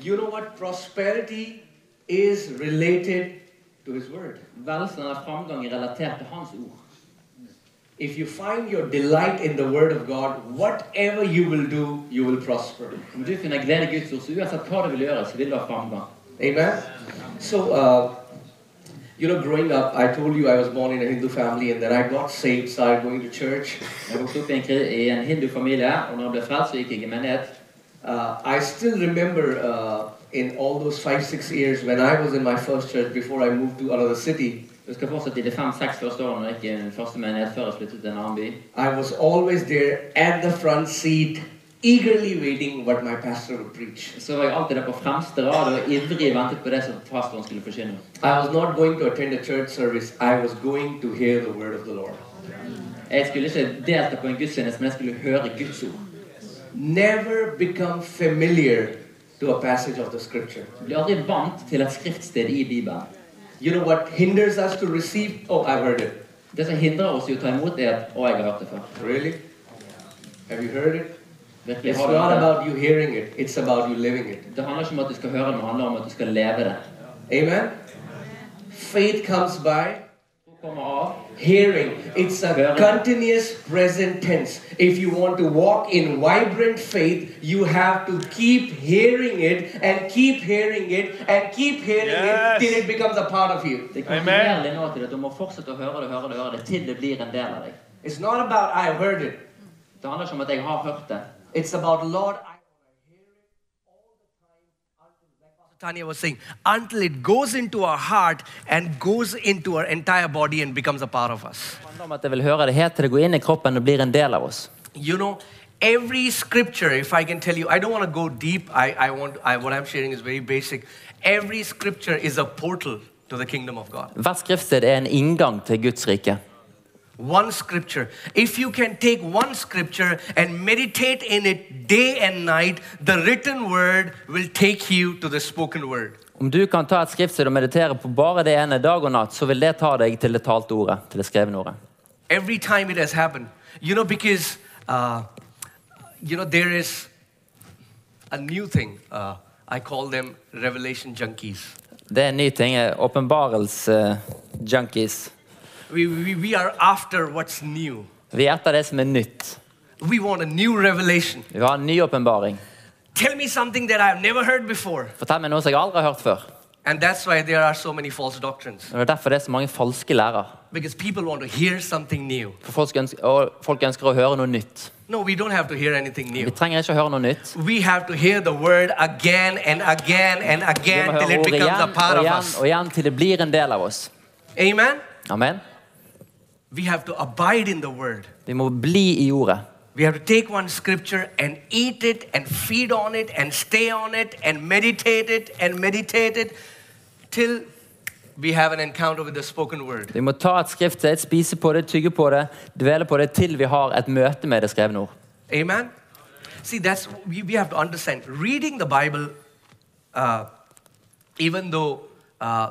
You know what? Prosperity is related to His Word. Velstand er framgang er relatert til Hans ord. If you find your delight in the Word of God, whatever you will do, you will prosper. Om du finner glede i Guds ord, så uansett hva du vil gjøre, så vil du ha framgang. Amen? So, uh, you know, growing up, I told you I was born in a Hindu family and then I got saved, started going to church. Jeg vokste opp i en, kri- i en hindufamilie, og når jeg ble frelst, så gikk jeg i menighet. Uh, I still remember uh, in all those five, six years when I was in my first church before I moved to another city, Jeg husker fortsatt i de fem-seks første årene når jeg gikk i min første menighet før jeg flyttet til en annen by. I was always there at the front seat, eagerly waiting what my pastor would preach. Så var jeg alltid der på fremste rad og ivrig ventet på det som pastoren skulle forkynne. I was not going to attend a church service, I was going to hear the word of the Lord. Jeg skulle ikke delta på en gudstjeneste, men jeg skulle høre Guds ord. Never become familiar to a passage of the scripture. Du blir aldri vant til et skriftsted i Bibelen. You know what hinders us to receive? Oh, I've heard it. Det som hindrer oss i å ta imot, er at Å, jeg har hørt det før. Really? Have you heard it? Virkelig It's har du not hørt det. about you hearing it, it's about you living it. Det handler ikke om at du skal høre det, men det handler om at du skal leve det. Amen? Faith comes by Tro kommer av. hearing. It's a Hearing. continuous present tense. If you want to walk in vibrant faith, you have to keep hearing it and keep hearing it and keep hearing Yes. it till it becomes a part of you. Det er Amen. kontinuerlig nå til at du må fortsette å høre det, høre det, høre det, til det blir en del av deg. It's not about I heard it, Det handler ikke om at jeg har hørt det. it's about Lord, I Tanya was saying, until it goes into our heart and goes into our entire body and becomes a part of us. Det handler om at jeg vil høre det helt til det går inn i kroppen og blir en del av oss. You know, every scripture, if I can tell you, I don't want to go deep. I, I want I, what I'm sharing is very basic. Every scripture is a portal to the kingdom of God. Hvert skriftsted er en inngang til Guds rike. One scripture. If you can take one scripture and meditate in it day and night, the written word will take you to the spoken word. Om du kan ta et skriftsted og meditere på bare det ene dag og natt, så vil det ta deg til det talte ordet, til det skrevne ordet. Every time it has happened. You know, because, uh, you know, there is a new thing. Uh, I call them revelation junkies. Det er en ny ting. eh, Åpenbarelse-junkies. We, we, we are after what's new. Vi er etter det som er nytt. We want a new revelation. Vi har en ny åpenbaring. Tell me something that I've never heard before. Fortell meg noe som jeg aldri har hørt før. And that's why there are so many false doctrines. Og Det er derfor det er så mange falske lærer. Because people want to hear something new. For folk ønsker, og folk ønsker å høre noe nytt. No, we don't have to hear anything Vi new. trenger ikke å høre noe nytt. We have to hear the word again and again and Vi må again till høre it ordet becomes igjen a og part of igjen us. og igjen til det blir en del av oss. Amen? Amen. We have to abide in the word. Vi må bli i ordet. We have to take one scripture and eat it and feed on it and stay on it and meditate it and meditate it till we have an encounter with the spoken word. Vi må ta et skriftsted, spise på det, tygge på det, dvele på det til vi har et møte med det skrevne ord. Amen? See, that's we, we have to understand. Reading the Bible, uh, even though uh,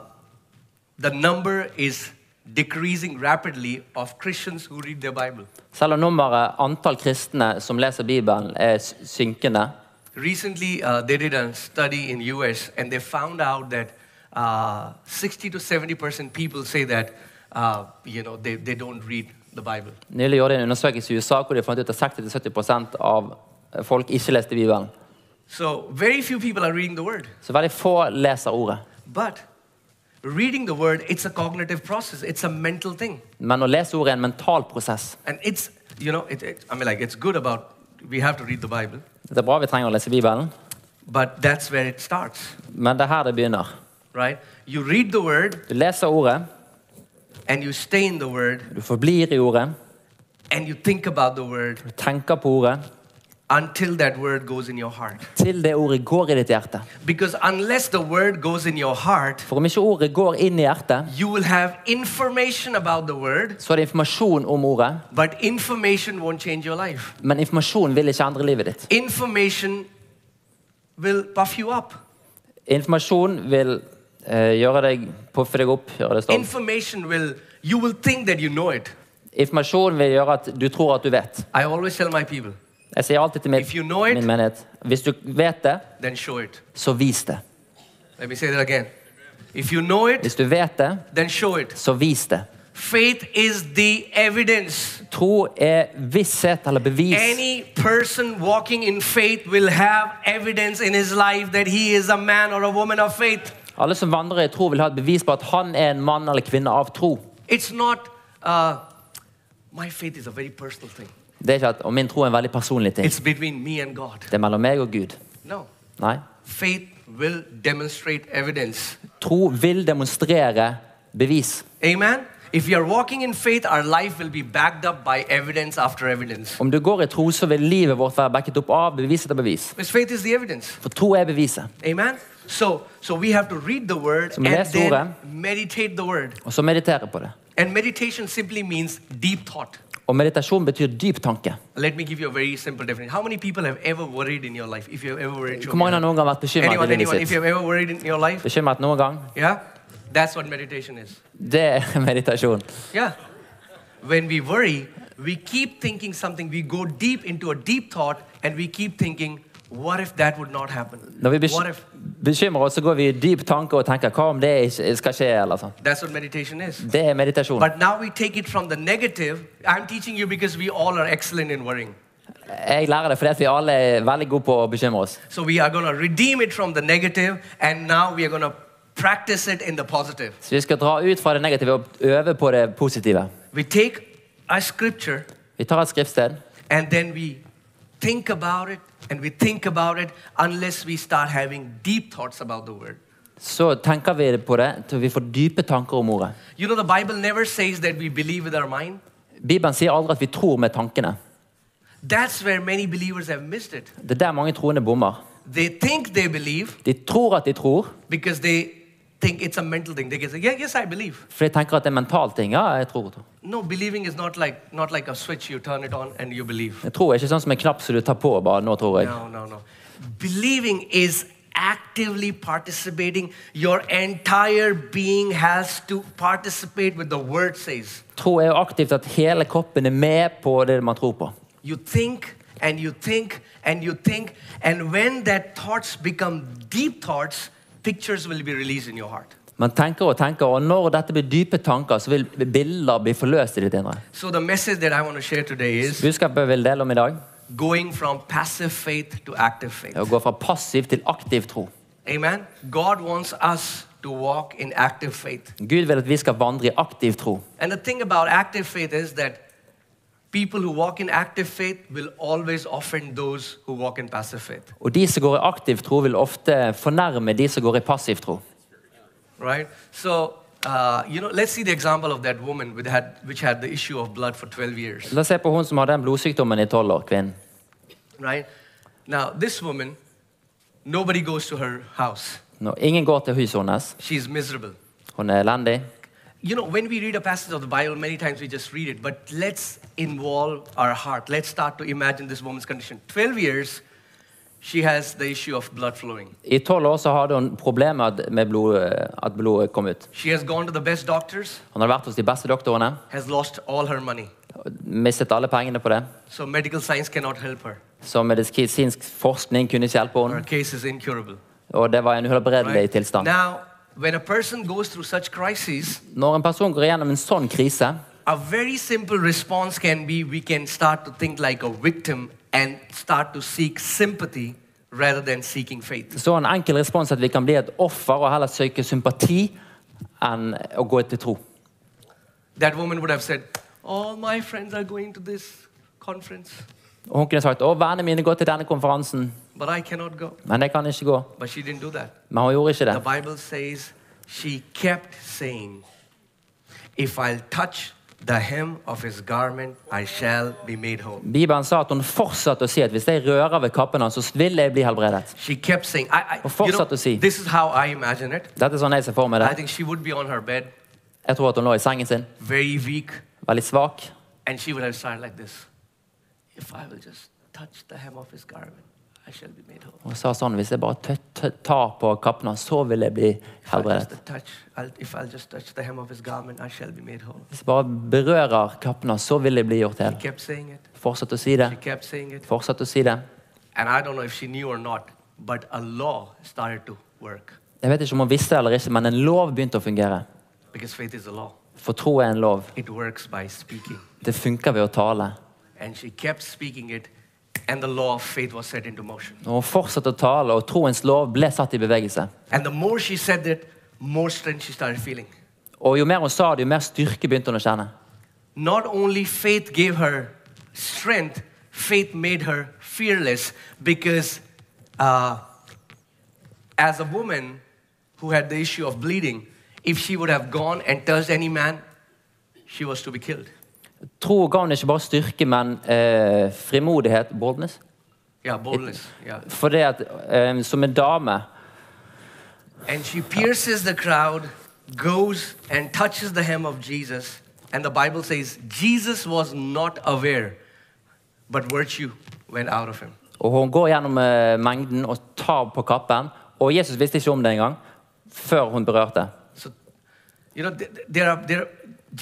the number is decreasing rapidly of Christians who read their Bible. Selv om nummeret antall kristne som leser Bibelen, er s- synkende, Recently, uh, they did a study in U.S. and they found out that uh, 60 to 70 percent people say that uh, you know they, they don't read the Bible. Nylig gjorde de en undersøkelse i USA hvor de fant ut at 60-70 av folk ikke leste Bibelen. So very few people are reading the Word. Så veldig få leser ordet. But reading the Word, it's a cognitive process. It's a mental thing, Men å lese ordet er en mental prosess. and it's you know it, it, I mean like it's good about we have to read the Bible, Det er bra vi trenger å lese Bibelen, but that's where it starts, men det er her det begynner. right? You read the Word Du leser ordet, and you stay in the Word du forblir i ordet, and you think about the Word du tenker på ordet, until that Word goes in your heart. til det ordet går i ditt hjerte. Because unless the word goes in your heart, For om ikke ordet går inn i hjertet, you will have information about the word, så er det informasjon om ordet, but information won't change your life. men informasjon vil ikke endre livet ditt. Information will puff you up, Informasjon vil eh, gjøre deg, puffe deg opp, gjøre deg stolt. information will, you will think that you know it. Informasjon vil gjøre at du tror at du vet. I always tell my people Jeg sier alltid til mitt, If you know it- min menighet Hvis du vet det, then show it. så vis det. Let me say that again. If you know it, Hvis du vet det, then show it. så vis det. Faith is the evidence. Tro er visshet eller bevis. Any person walking in faith will have evidence in his life that he is a man or a woman of faith. Alle som vandrer i tro, vil ha et bevis på at han er en mann eller kvinne av tro. It's not, uh, my faith is a very personal thing. Det er ikke at, Og min tro er en veldig personlig ting. It's between me and God. Det er mellom meg og Gud. No. Nei. Faith will demonstrate evidence. Tro vil demonstrere bevis. Amen? If you are walking in faith, our life will be backed up by evidence after evidence. Om du går i tro, så vil livet vårt være backet opp av bevis etter bevis. Because faith is the evidence. For tro er beviset. Amen? So, so we have to read the word Så and man läser then ordet. meditate the word. Og så meditere på det. And meditation simply means deep thought. Og meditasjon betyr dyp tanke. Let me give you a very simple definition. How many people have ever worried in your life? If you have ever worried, show Hvor mange me har your hand. noen gang vært bekymret anyone, i anyone, livet if sitt? you have ever worried in your life, Bekymret noen gang? yeah, that's what meditation is. Det er meditasjon. Yeah. When we worry, we keep thinking something, we go deep into a deep thought, and we keep thinking, what if that would not happen? Når vi what beky- if? bekymrer oss, så går vi i dyp tanke og tenker hva om det ikke skal skje? eller sånn. That's what meditation is. Det er meditasjon. But now we take it from the negative. I'm teaching you because we all are excellent in worrying. Jeg lærer det fordi at vi alle er veldig gode på å bekymre oss. So we are going to redeem it from the negative, and now we are going to practice it in the positive. Så vi skal dra ut fra det negative og øve på det positive. We take a scripture Vi tar et skriftsted, and then we think about it and we think about it unless we start having deep thoughts about the word. så tenker vi på det til vi får dype tanker om ordet. You know, the Bible never says that we believe with our mind. Bibelen sier aldri at vi tror med tankene. That's where many believers have missed it. Det er der mange troende bommer. They think they believe De tror at de tror, because they think it's a mental thing. They can say, yeah, yes, I believe. for de tenker at det er mental ting. Ja, jeg tror. tror. No, believing is not like, not like a switch. You turn it on and you believe. Jeg tror er ikke sånn som en knapp som du tar på og bare 'nå tror jeg'. No, no, no. Believing is actively participating. Your entire being has to participate with the word says. Tro er jo aktivt at hele kroppen er med på det man tror på. You think and you think and you think, and when that thoughts become deep thoughts, pictures will be released in your heart. Man tenker og tenker, og når dette blir dype tanker, så vil bilder bli forløst i ditt indre. So the message that I want to share today is Budskapet jeg vil dele om i dag, going from passive faith to active faith. er å gå fra passiv til aktiv tro. Amen. God wants us to walk in active faith. Gud vil at vi skal vandre i aktiv tro. And the thing about active faith is that people who walk in active faith will always offend those who walk in passive faith, Og de som går i aktiv tro, vil ofte fornærme de som går i passiv tro. right? So, uh, you know, let's see the example of that woman with had, which had the issue of blood for 12 years, La oss se på hun som hadde den blodsykdommen i tolv år, kvinnen. right? Now, this woman, nobody goes to her house. Når ingen går til huset hennes. She's miserable. Hun er elendig. You know, when we read a passage of the Bible, many times we just read it, but let's involve our heart. Let's start to imagine this woman's condition. 12 years, she has the issue of blood flowing. I tolv år så hadde hun problemer at- med blod, eh, at blodet kom ut. She has gone to the best doctors, Hun hadde vært hos de beste doktorene, has lost all her money. mistet alle pengene på det. So medical science cannot help her. Så medisinsk forskning kunne ikke hjelpe Her henne, case is incurable. og det var en uhelbredelig right? tilstand. Now, when a person goes through such crises, Når en person går gjennom en sånn krise, a very simple response can be we can start to think like a victim and start to seek sympathy rather than seeking faith. så er en enkel respons at vi kan bli et offer og heller søke sympati enn å gå til tro. That woman would have said, All my friends are going to this conference, Og hun kunne sagt 'Å, vennene mine går til denne konferansen', but I cannot go. men jeg kan ikke gå. But she didn't do that. Men hun gjorde ikke The det. Bible says she kept saying, If I'll touch the hem of his garment, I shall be made whole. Bibelen sa at hun fortsatte å si at hvis jeg rører ved kappen hans, så vil jeg bli helbredet. She kept saying, I, Och I, you know, fortsatte si. this is how I imagine it. Dette er sånn jeg ser for meg I det. think she would be on her bed, Jeg tror at hun lå i sengen sin, very weak, veldig svak. and she would have started like this If I will just touch the hem of his garment, I shall be made whole. Hun sa sånn 'Hvis jeg bare tø- tø- tar på kappen hans, så vil jeg bli If I'll just helbredet'. touch, I'll, if I'll just touch the hem of his garment, I shall be made whole. Hvis jeg bare berører kappen hans, så vil jeg bli gjort hel. Kept saying it. Fortsett å si det. She kept saying it. Fortsett å si det. And I don't know if she knew or not, but a law started to work Jeg vet ikke om hun visste eller ikke, men en lov begynte å fungere. because faith is a law. For tro er en lov. It works by speaking. Det funker ved å tale. And she kept speaking it, and the law of faith was set into motion. Og hun fortsatte å tale, og troens lov ble satt i bevegelse. And the more she said that, more strength she started feeling. Og jo mer hun sa det, jo mer styrke begynte hun å kjenne. Not only faith gave her strength, faith made her fearless because uh, as a woman who had the issue of bleeding, if she would have gone and touched any man, she was to be killed. Tro ga hun ikke bare styrke, men eh, frimodighet, boldness. Yeah, boldness. Yeah. For det at eh, som en dame And she pierces the crowd, goes and touches the hem of Jesus. And the Bible says Jesus was not aware, but virtue went out of him. Og hun går gjennom eh, mengden og tar på kappen. Og Jesus visste ikke om det engang før hun berørte. So, you know, th- th- there are, there are,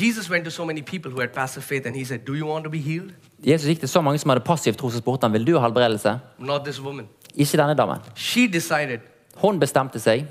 Jesus went to so many people who had passive faith and he said, Do you want to be healed? Jesus gikk til så mange som hadde passiv tro, som spurte ham vil du ha helbredelse. Not this woman. Ikke denne damen. She decided, Hun bestemte seg.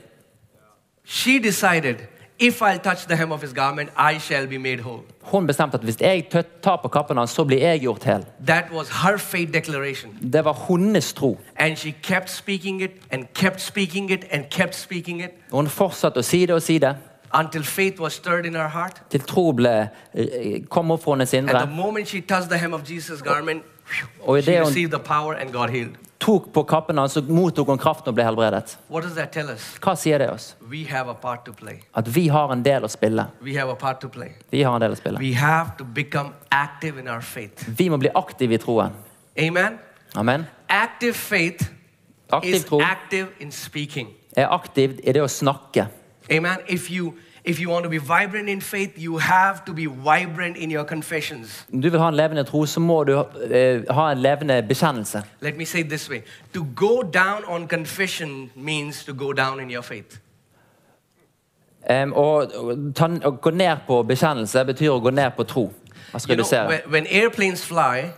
she decided, if I'll touch the hem of his garment, I shall be made whole. Hun bestemte at hvis jeg tø- tar på kappen hans, så blir jeg gjort hel. That was her faith declaration. Det var hennes tro. And she kept speaking it and kept speaking it and kept speaking it. Og hun fortsatte å si det og si det, until faith was stirred in her heart. til tro ble, eh, kom opp fra hennes And indre. the moment she touched the hem of Jesus' garment, phew, Oh, she they don't- received the power and got healed. Tok på kappen hans og mottok hun kraften og ble helbredet. What does that tell us? Hva sier det oss? We have a part to play. At vi har en del å spille. We have a part to play. Vi har en del å spille. We have to become active in our faith. Vi må bli aktive i troen. Amen? Amen. Active faith Aktiv is tro active in speaking. er aktiv i det å snakke. Amen? If you, if you want to be vibrant in faith, you have to be vibrant in your confessions. Om du vil ha en levende tro, så må du eh, ha en levende bekjennelse. Let me say it this way to go down on confession means to go down in your faith. Em, og, og, ta, å gå ned på bekjennelse betyr å gå ned på tro. Altså You know, redusere. when, when airplanes fly,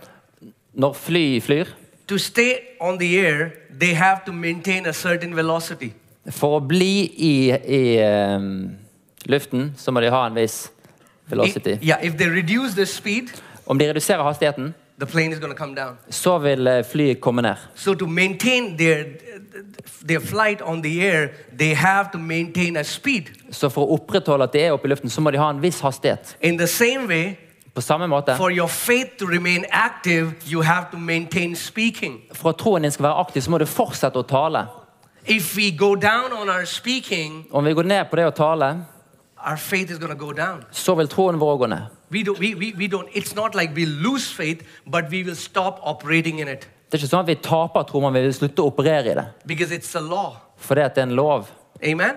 Når fly flyr, to stay on the air, they have to maintain a certain velocity. for å bli i, i em, luften, så må de ha en viss velocity. If- yeah, if they reduce the speed, Om de reduserer hastigheten, the plane is going to come down. så vil eh, flyet komme ned. So to maintain their their flight on the air, they have to maintain a speed. Så for å opprettholde at de er oppe i luften, så må de ha en viss hastighet. In the same way, På samme måte, for your faith to remain active, you have to maintain speaking. for at troen din skal være aktiv, så må du fortsette å tale. If we go down on our speaking, Om vi går ned på det å tale, our faith is going to go down. så vil troen vår gå ned. We don't, we, we, we don't, it's not like we lose faith, but we will stop operating in it Det er ikke sånn at vi taper tro, men vi vil slutte å operere i det. because it's a law. Fordi at det er en lov. Amen?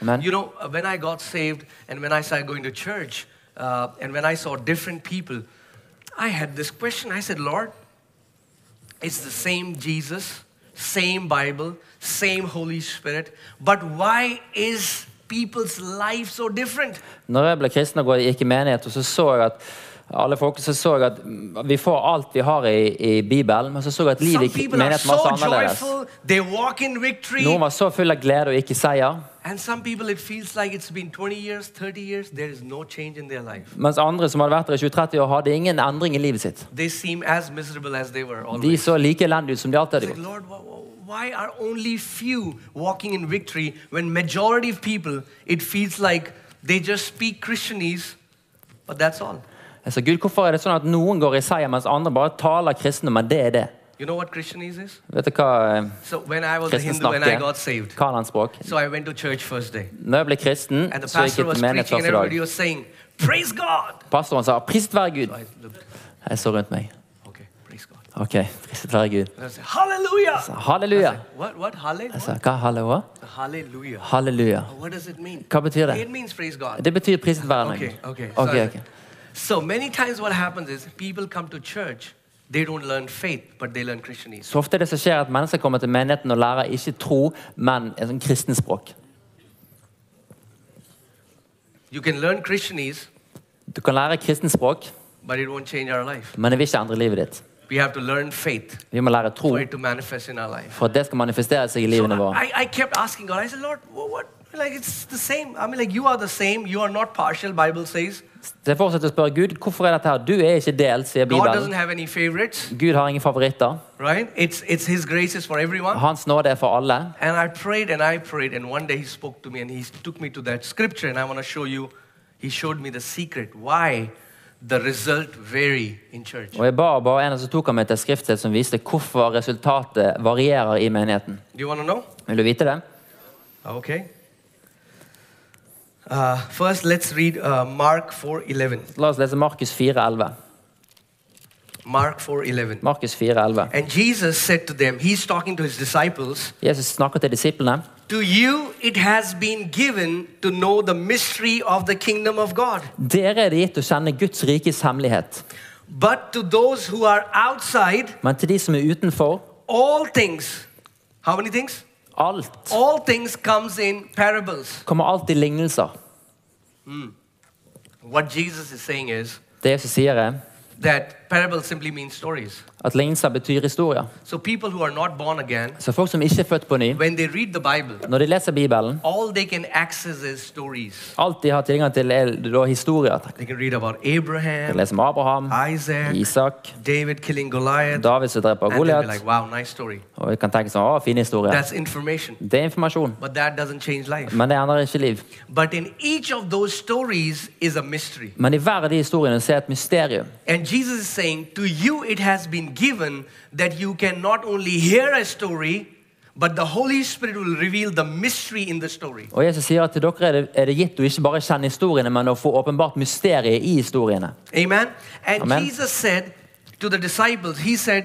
Amen. You know, uh, when I got saved and when I started going to church uh, and when I saw different people, I had this question. I said, Lord, it's the same Jesus, same Bible, same Holy Spirit, but why is people's life so different? Når jeg ble kristen og gikk i menighet, og så så jeg at alle folk, så så jeg at mm, vi får alt vi har i, i Bibelen, men så så jeg at Some livet i people are menigheten var so så annerledes. joyful, they walk in victory, Noen var så full av glede og gikk i seier, and some people it feels like it's been 20 years, 30 years, there is no change in their life. mens andre som hadde vært der i 20-30 år, hadde ingen endring i livet sitt. They seem as miserable as they were always. De så like elendige ut som de alltid It's hadde like, gjort. Lord, wh- wh- why are only few walking in victory when majority of people, it feels like they just speak Christianese, but that's all. Jeg sa, Gud, hvorfor er det sånn at noen går i seier, mens andre bare taler kristne, men det er det? You know what Christianese is? Vet du hva eh, So when I was a kristne Hindu and I snakker? got saved, Hva er hans språk? so I went to church first day. Når jeg ble kristen, And the så gikk pastor jeg was til menighet preaching and første dag. everybody was saying, praise God. Pastoren sa 'priset være Gud'. I looked, Jeg så rundt meg. okay, praise God. Ok, priset være Gud. And I said, hallelujah. Så, halleluja. What, what, hallelujah? Jeg sa hva, hallo? Hallelujah. Halleluja. What does it mean? Hva betyr det? It means praise God. Det betyr priset være meg. Okay, okay. Ok, sorry. ok. So many times what happens is people come to church, they don't learn faith, but they learn Christianese. Så ofte er det som skjer at mennesker kommer til menigheten og lærer ikke tro, men et sånt kristenspråk. You can learn Christianese, Du kan lære kristenspråk, but it won't change our life. Men det vil ikke endre livet ditt. We have to learn faith Vi må lære tro for it to manifest in our life. for at det skal manifestere seg i So livene våre. I, I kept asking God, I said, Lord, wha- what? Like, it's the same. I mean, like, you are the same. You are not partial, Bible says. Så jeg fortsetter å spørre Gud hvorfor er dette her? Du er ikke delt, sier God doesn't Bibelen. have any favorites, Gud har ingen favoritter. right? It's, it's His grace is for everyone. Hans nåde er for alle. And I prayed and I prayed, and one day He spoke to me and He took me to that scripture, and I want to show you, He showed me the secret why the result vary in church. Og jeg ba og ba, og en av oss tok han meg til et skriftsted som viste hvorfor resultatet varierer i menigheten. Do you want to know? Vil du vite det? Okay. Uh, first, let's read uh, Mark 4:11. La oss lese Markus 4,11. Mark 4:11. Markus 4,11. And Jesus said to them, He's talking to His disciples, Jesus snakker til disiplene. To you it has been given to know the mystery of the kingdom of God. Dere er det gitt å kjenne Guds rikes hemmelighet. But to those who are outside, Men til de som er utenfor, all things, how many things? alt All things comes in parables. kommer alltid lignelser. What Jesus is saying is Det Jesus sier, er that parables simply mean stories. at lignelser betyr historier. So people who are not born again, Så folk som ikke er født på ny, when they read the Bible, når de leser Bibelen, all they can access is stories. alt de har tilgang til, er da historier. De They can read about kan Abraham, lese om Abraham, Isaac, Isak, David killing Goliath, David som dreper and they'll be Goliat. like, wow, nice story. Og vi kan tenke sånn, å, fine historier. That's information. Det er informasjon, But that doesn't change life. men det endrer ikke liv. But in each of those stories is a mystery. Men i hver av de historiene ser jeg et mysterium. And Jesus is saying, To you it has been given that you can not only hear a story, but the Holy Spirit will reveal the mystery in the story. Og Jesus sier at til dere er det, er det gitt å ikke bare kjenne historiene, men å få åpenbart mysteriet i historiene. Amen. And Amen. Jesus said to the disciples, He said,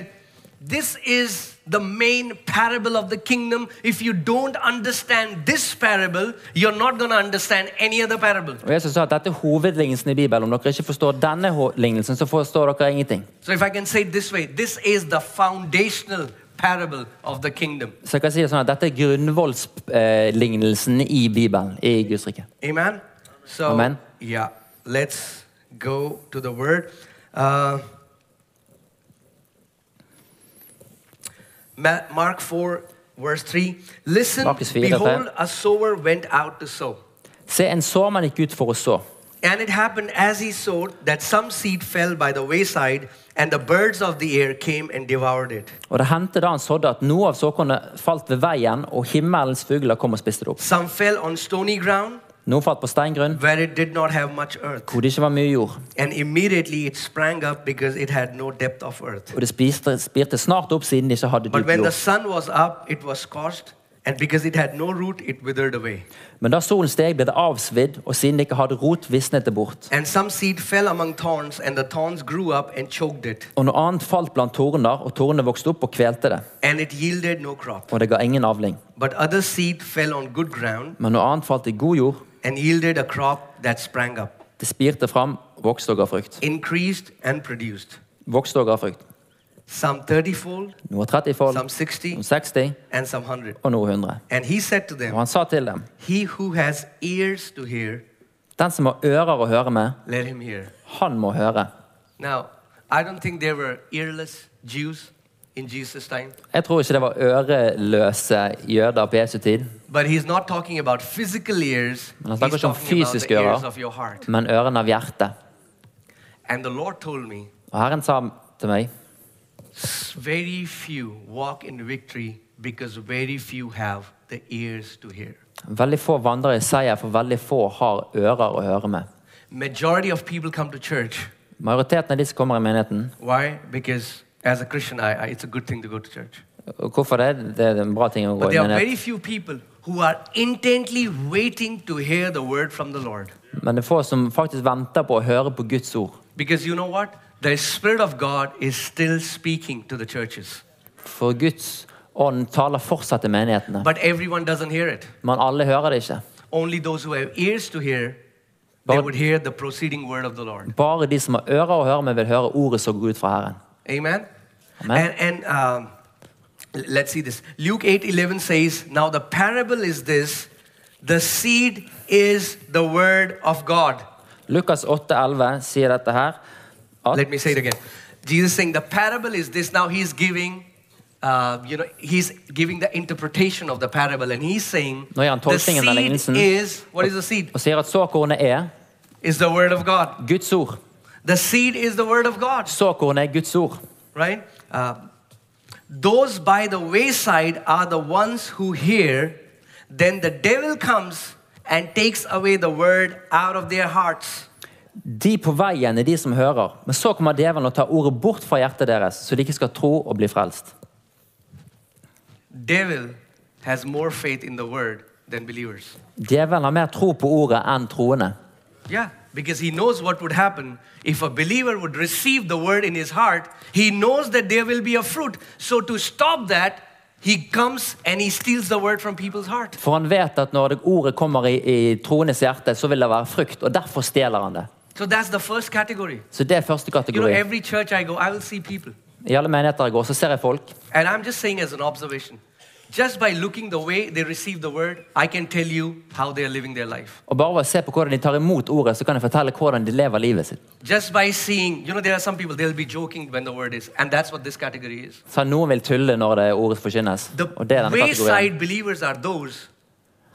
This is the main parable of the kingdom. If you don't understand this parable, you're not going to understand any other parable. Og Jesus sa at dette er hovedlignelsen i Bibelen. Om dere ikke forstår denne ho- lignelsen, så forstår dere ingenting. So, if I can say it this way, this is the foundational parable of the kingdom. Så jeg kan si det sånn at dette er grunnvollslignelsen i Bibelen, i Guds rike. Amen. So, Amen. yeah, let's go to the word. Uh, Ma- Mark 4, verse 3. Listen, Markus 4, behold, dette. a sower went out to sow. Se, en såmann gikk ut for å så. And it happened as he sowed that some seed fell by the wayside, and the birds of the air came and devoured it. Og det hendte da han sådde at noe av såkornet falt ved veien, og himmelens fugler kom og spiste det opp. Some fell on stony ground Noe falt på steingrunn, where it did not have much earth, hvor det ikke var mye jord. and immediately it sprang up because it had no depth of earth. Og det spiste, spirte snart opp siden de ikke hadde But dyp when the jord. sun was up, it was scorched, and because it had no root, it withered away. Men da solen steg, ble det avsvidd, og siden det ikke hadde rot, visnet det bort. And some seed fell among thorns, and the thorns grew up and choked it, Og noe annet falt blant torner, og tornene vokste opp og kvelte det. and it yielded no crop. Og det ga ingen avling. But other seed fell on good ground Men noe annet falt i god jord, and yielded a crop that sprang up, det spirte fram, vokste og ga frukt. increased and produced. Vokste og ga frukt. Some thirtyfold, Noe 30 fold, some sixty, noe 60 and some hundred. og noe 100. And he said to Og them, han sa til dem, He who has ears to hear, den som har ører å høre med, let him hear. han må høre. Now, I don't think there were earless Jews in Jesus' time. Jeg tror ikke det var øreløse jøder på Jesu tid, But he's not talking about physical ears. Men han He's snakker ikke om talking about fysiske the ears ører. of your heart. men ørene av hjertet. And the Lord told me, Og Herren sa til meg, "S- very few walk in victory because very few have the ears to hear. veldig få vandrer i seier, for veldig få har ører å høre med. Majority of people come to church. Majoriteten av de som kommer i menigheten, Why? Because as a Christian, I, I, it's a good thing to go to church. og hvorfor det? Det er en bra ting å gå But i there are menighet. very few people who are intently waiting to hear the word from the Lord. Men det er få som faktisk venter på å høre på Guds ord. Because you know what? The Spirit of God is still speaking to the churches, For Guds ånd taler fortsatt til menighetene. but everyone doesn't hear it. Men alle hører det ikke. Only those who have ears to hear, they But- would hear the proceeding word of the Lord. Bare de som har ører å høre med, vil høre ordet som går ut fra Herren. Amen. Amen. And, and um, l- let's see this. Luke eight eleven says, "Now the parable is this: the seed is the word of God." Lukas 8,11 sier dette her. At- Let me say it again. Jesus saying the parable is this. Now he's giving, uh, you know, he's giving the interpretation of the parable, and he's saying Nå gjør han the tolkningen av seed lignelsen. is what is the seed? og sier at såkornet er Is the word of God. Guds ord. The seed is the word of God, Såkornet er Guds ord. right? Uh, those by the wayside are the ones who hear. Then the devil comes and takes away the word out of their hearts. De på veien er de som hører, men så kommer djevelen og tar ordet bort fra hjertet deres, så de ikke skal tro og bli frelst. Devil has more faith in the word than believers. Djevelen har mer tro på ordet enn troende. Yeah, because he knows what would happen if a believer would receive the word in his heart. He knows that there will be a fruit. So to stop that, he comes and he steals the word from people's heart. For han vet at når det ordet kommer i, i troendes hjerte, så vil det være frukt, og derfor stjeler han det. So that's the first category. Så det er første You know, kategori. every church I go, I will see people. I alle menigheter jeg går, så ser jeg folk. And I'm just saying as an observation. Just by looking the way they receive the word, I can tell you how they are living their life. Og bare ved å se på hvordan de tar imot ordet, så kan jeg fortelle hvordan de lever livet sitt. Just by seeing, you know, there are some people, they'll be joking when the word is. And that's what this category is. Så noen vil tulle når det ordet forkynnes. The Og det er denne kategorien. wayside believers are those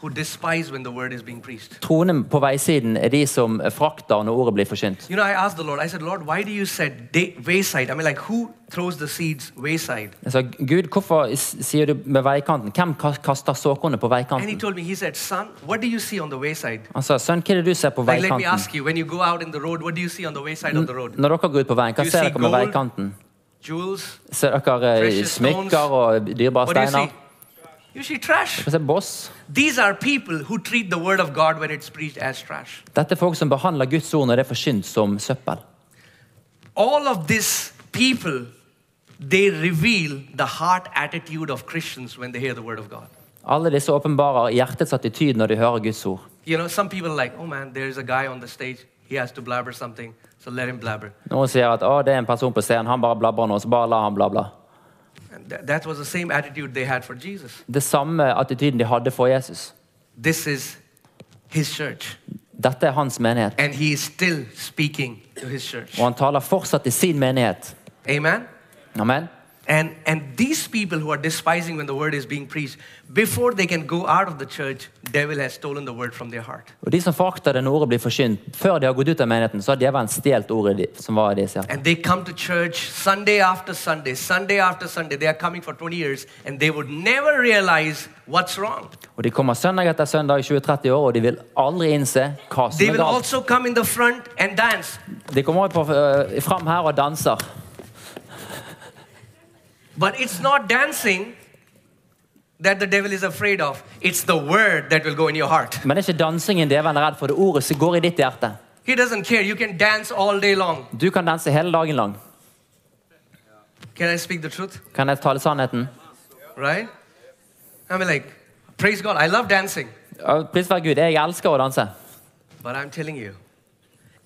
who despise when the word is being preached. Troende på veisiden er de som frakter når ordet blir forkynt. You know, I asked the Lord, I said, Lord, why do you said day, wayside? I mean, like, who throws the seeds wayside? Jeg sa, Gud, hvorfor s- sier du med veikanten? Hvem ka- kaster såkornet på And He veikanten? told me, He said, Son, what do you see on the wayside? Han sa, sønn, hva er det du ser på Like, let me veikanten? ask you, when you go out in the road, what do you see on the wayside of the road? Når dere går ut på veien, hva You ser see dere med gold? veikanten? Jewels? Ser dere eh, Precious stones? smykker og dyrebare What do you see? steiner? You see trash. Dere ser boss. These are people who treat the word of God when it's preached as trash. Dette er folk som behandler Guds ord når det er forkynt som søppel. all of these people they reveal the heart attitude of christians when they hear the word of god Alle disse åpenbarer hjertets attityd når de hører Guds ord. you know some people are like oh man there's a guy on the stage he has to blabber something so let him blabber Noen sier at å, det er en person på scenen, han bare blabber nå, så bare la han blabla. and tha- that was the same attitude they had for jesus Det samme attityden de hadde for Jesus. this is his church Dette er hans menighet, and he is still speaking to his church og han taler fortsatt til sin menighet. amen Amen. and and these people who are despising when the word is being preached before they can go out of the church devil has stolen the word from their heart Og de som forakter det når ordet blir forkynt, før de har gått ut av menigheten, så har djevelen stjålet ordet de, som var i deres hjerte. And they come to church Sunday after Sunday, Sunday after Sunday. They are coming for 20 years and they would never realize what's wrong. Og de kommer søndag etter søndag i 20-30 år, og de vil aldri innse hva They som er will galt. also come in the front and dance, De kommer på, øh, fram her og danser. but it's not dancing that the devil is afraid of, it's the word that will go in your heart. Men det er ikke dansingen djevelen er redd for, det er ordet som går i ditt hjerte. He doesn't care. You can dance all day long. Du kan danse hele dagen lang. Can I speak the truth? Kan jeg tale sannheten? Right? I mean, like, praise God. I love dancing, Ja, Pris være Gud, jeg elsker å danse. but I'm telling you,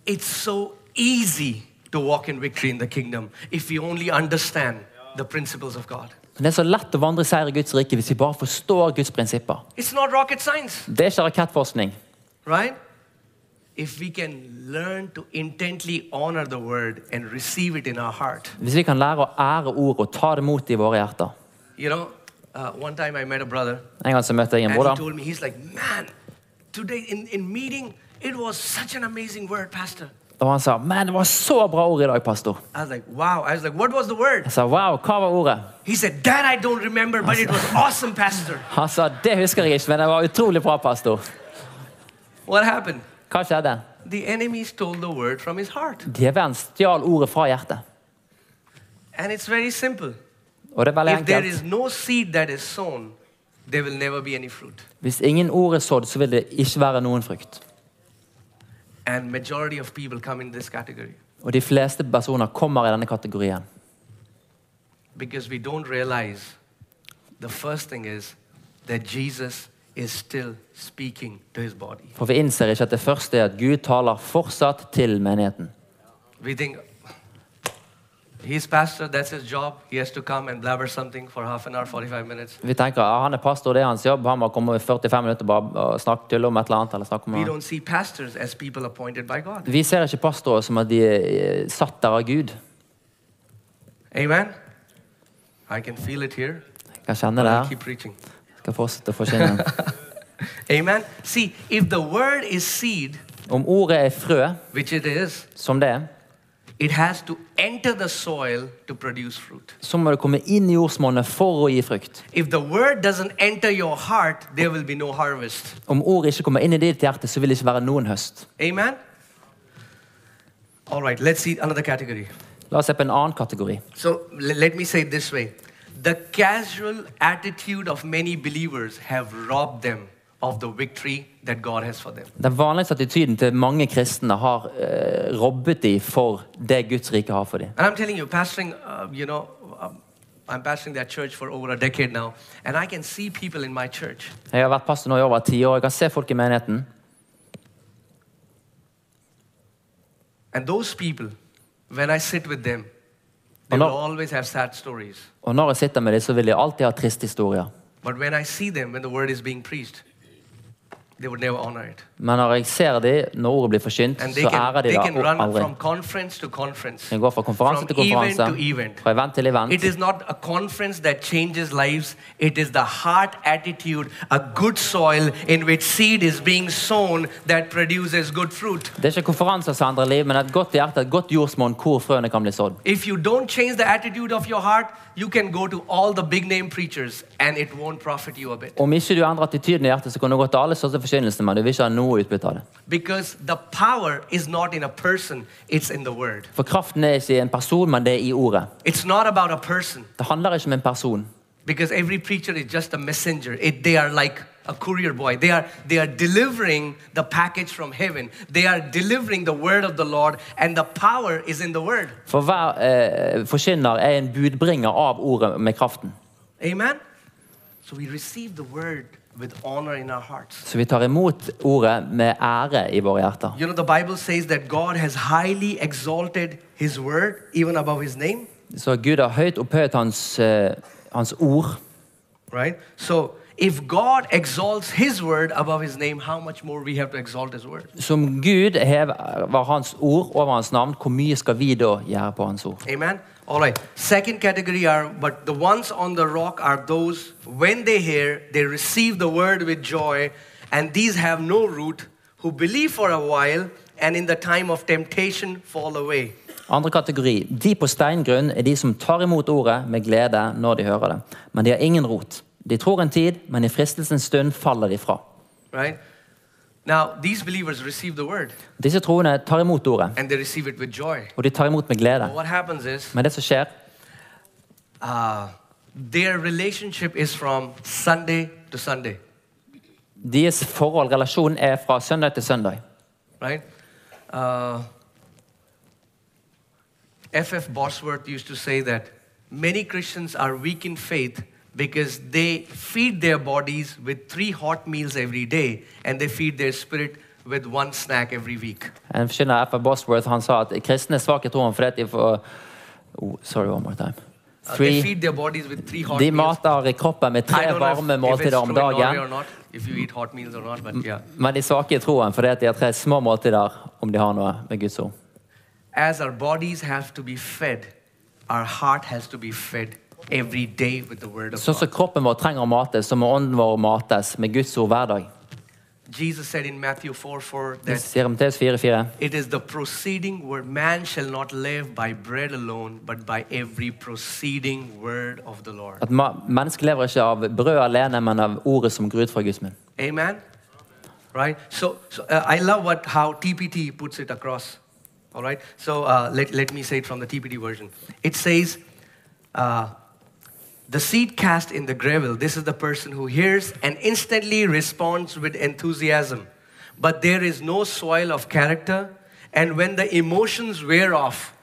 it's so easy to walk in victory in the kingdom if you only understand the principles of God. Men det er så lett å vandre i seier i Guds rike hvis vi bare forstår Guds prinsipper. It's not rocket science, Det er ikke rakettforskning. right? If we can learn to intently honor the word and receive it in our heart. Hvis vi kan lære å ære ord og ta det imot i våre hjerter. You know, uh, one time I met a brother En gang så møtte jeg en and he bror. told me, he's like, man, today in, in meeting, it was such an amazing word, Pastor. Og han sa 'Men det var så bra ord i dag, pastor'. I was like, wow. I was like, what was the word? Jeg sa 'Wow, hva var ordet?' He said, that I don't remember, but it was awesome, Pastor. Han sa 'Det husker jeg ikke, men det var utrolig bra, pastor'. What happened? Hva skjedde? The enemy stole the word from his heart. Djevelen stjal ordet fra hjertet. And it's very simple. Og det er veldig If there enkelt. is no seed that is sown, there will never be any fruit. Hvis ingen ord er sådd, så vil det ikke være noen frukt. and majority of people come in this category Og de fleste personer kommer i denne kategorien. because we don't realize the first thing is that jesus is still speaking to his body For vi innser ikke at det første er at Gud taler fortsatt til menigheten. we think He's pastor, that's his job. He has to come and blabber something for half an hour, 45 minutes. Vi tenker ja, han er pastor, det er hans jobb. Han må komme i 45 minutter bare og snakke tulle om et eller annet. eller snakke om We noe. don't see pastors as people appointed by God. Vi ser ikke pastorer som at de er eh, satt der av Gud. Amen? I can feel it here. Jeg kan kjenne det I her. keep preaching. Skal fortsette å forsyne. Amen? See, if the word is seed, Om ordet er frø, which it is, som det er, it has to enter the soil to produce fruit. så må det komme inn i jordsmonnet for å gi frukt. If the word doesn't enter your heart, there will be no harvest. Om ordet ikke kommer inn i ditt hjerte, så vil det ikke være noen høst. Amen? All right, let's see another category. La oss se på en annen kategori. So l- let me say it this way the casual attitude of many believers have robbed them of the victory that God has for them. Den vanligste attityden til mange kristne har eh, robbet de for det Guds rike har for dem. And I'm telling you, pastoring, uh, you know, um, I'm pastoring that church for over a decade now, and I can see people in my church. Jeg har vært pastor nå i over ti år. Jeg kan se folk i menigheten. And those people, when I sit with them, they Hello. will always have sad stories. Og når jeg sitter med dem, så vil de alltid ha triste historier. But when I see them, when the word is being preached, they would never honor it. Men når jeg ser dem, når ordet blir forkynt, And they så can, ærer de they det can run aldri. from conference to conference. De går fra konferanse from til event konferanse, to event. fra event til It event. is not a conference that changes lives. It is the heart attitude, a good soil in which seed is being sown that produces good fruit. Det er ikke konferanser som endrer liv, men et godt hjerte, et godt jordsmonn hvor frøene kan bli sådd. If you don't change the attitude of your heart, you can go to all the big name preachers and it won't profit you a bit. Om ikke du endrer attityden i hjertet, så kan du gå til alle største forkynnelser, men du vil ikke ha noe utbytte av det. Because the power is not in a person, it's in the word. For kraften er ikke i en person, men det er i ordet. It's not about a person, Det handler ikke om en person. because every preacher is just a messenger. It, they are like a courier boy. They are, they are delivering the package from heaven, they are delivering the word of the Lord, and the power is in the word. For hver eh, forkynner er en budbringer av ordet med kraften. Amen? So we receive the word with honor in our hearts. Så vi tar imot ordet med ære i våre hjerter. You know, the Bible says that God has highly exalted His word, even above His name, Så Gud har høyt opphøyet hans, eh, hans ord. right? So, if God exalts His word above His name, how much more we have to exalt His word? Som Gud hever hans ord over hans navn, hvor mye skal vi da gjøre på hans ord? Amen. All right. Second category are, but the ones on the rock are those, when they hear, they receive the word with joy, and these have no root, who believe for a while, and in the time of temptation fall away. Andre kategori. De på steingrunn er de som tar imot ordet med glede når de hører det. Men de har ingen rot. De tror en tid, men i fristelsens stund faller de fra. Right? Now, these believers receive the word, Disse troende tar imot ordet, and they receive it with joy. og de tar imot med glede. What happens is Men det som skjer, uh, their relationship is from Sunday to Sunday, Deres forhold, relasjon, er fra søndag til søndag. right? Uh, F.F. Bosworth used to say that many Christians are weak in faith because they feed their bodies with three hot meals every day and they feed their spirit with one snack every week. En forkynner, F.A. Bosworth, han sa at kristne er svake i troen fordi at de får oh, Sorry, one more time. Uh, they Three, feed their bodies with three hot de meals. mater i kroppen med I tre don't know if, varme if it's måltider true in om Norway or dagen, not, if you eat hot meals or not, but yeah. men de er svake i troen fordi at de har tre små måltider om de har noe med Guds ord. As our bodies have to be fed, our heart has to be fed every day with the Word of Sånn som God. kroppen vår trenger å mates, så må ånden vår mates med Guds ord hver dag. Jesus said in Matthew 4 4 Det that sier Matteus 4,4. it is the proceeding word, man shall not live by bread alone, but by every proceeding word of the Lord. At ma- mennesket lever ikke av brød alene, men av ordet som går ut fra Guds munn. Amen? Right? So, so uh, I love what, how TPT puts it across. All right? So uh, let, let me say it from the TPT version. It says, uh, the seed cast in the gravel, this is the person who hears and instantly responds with enthusiasm. But there is no soil of character, and when the emotions wear off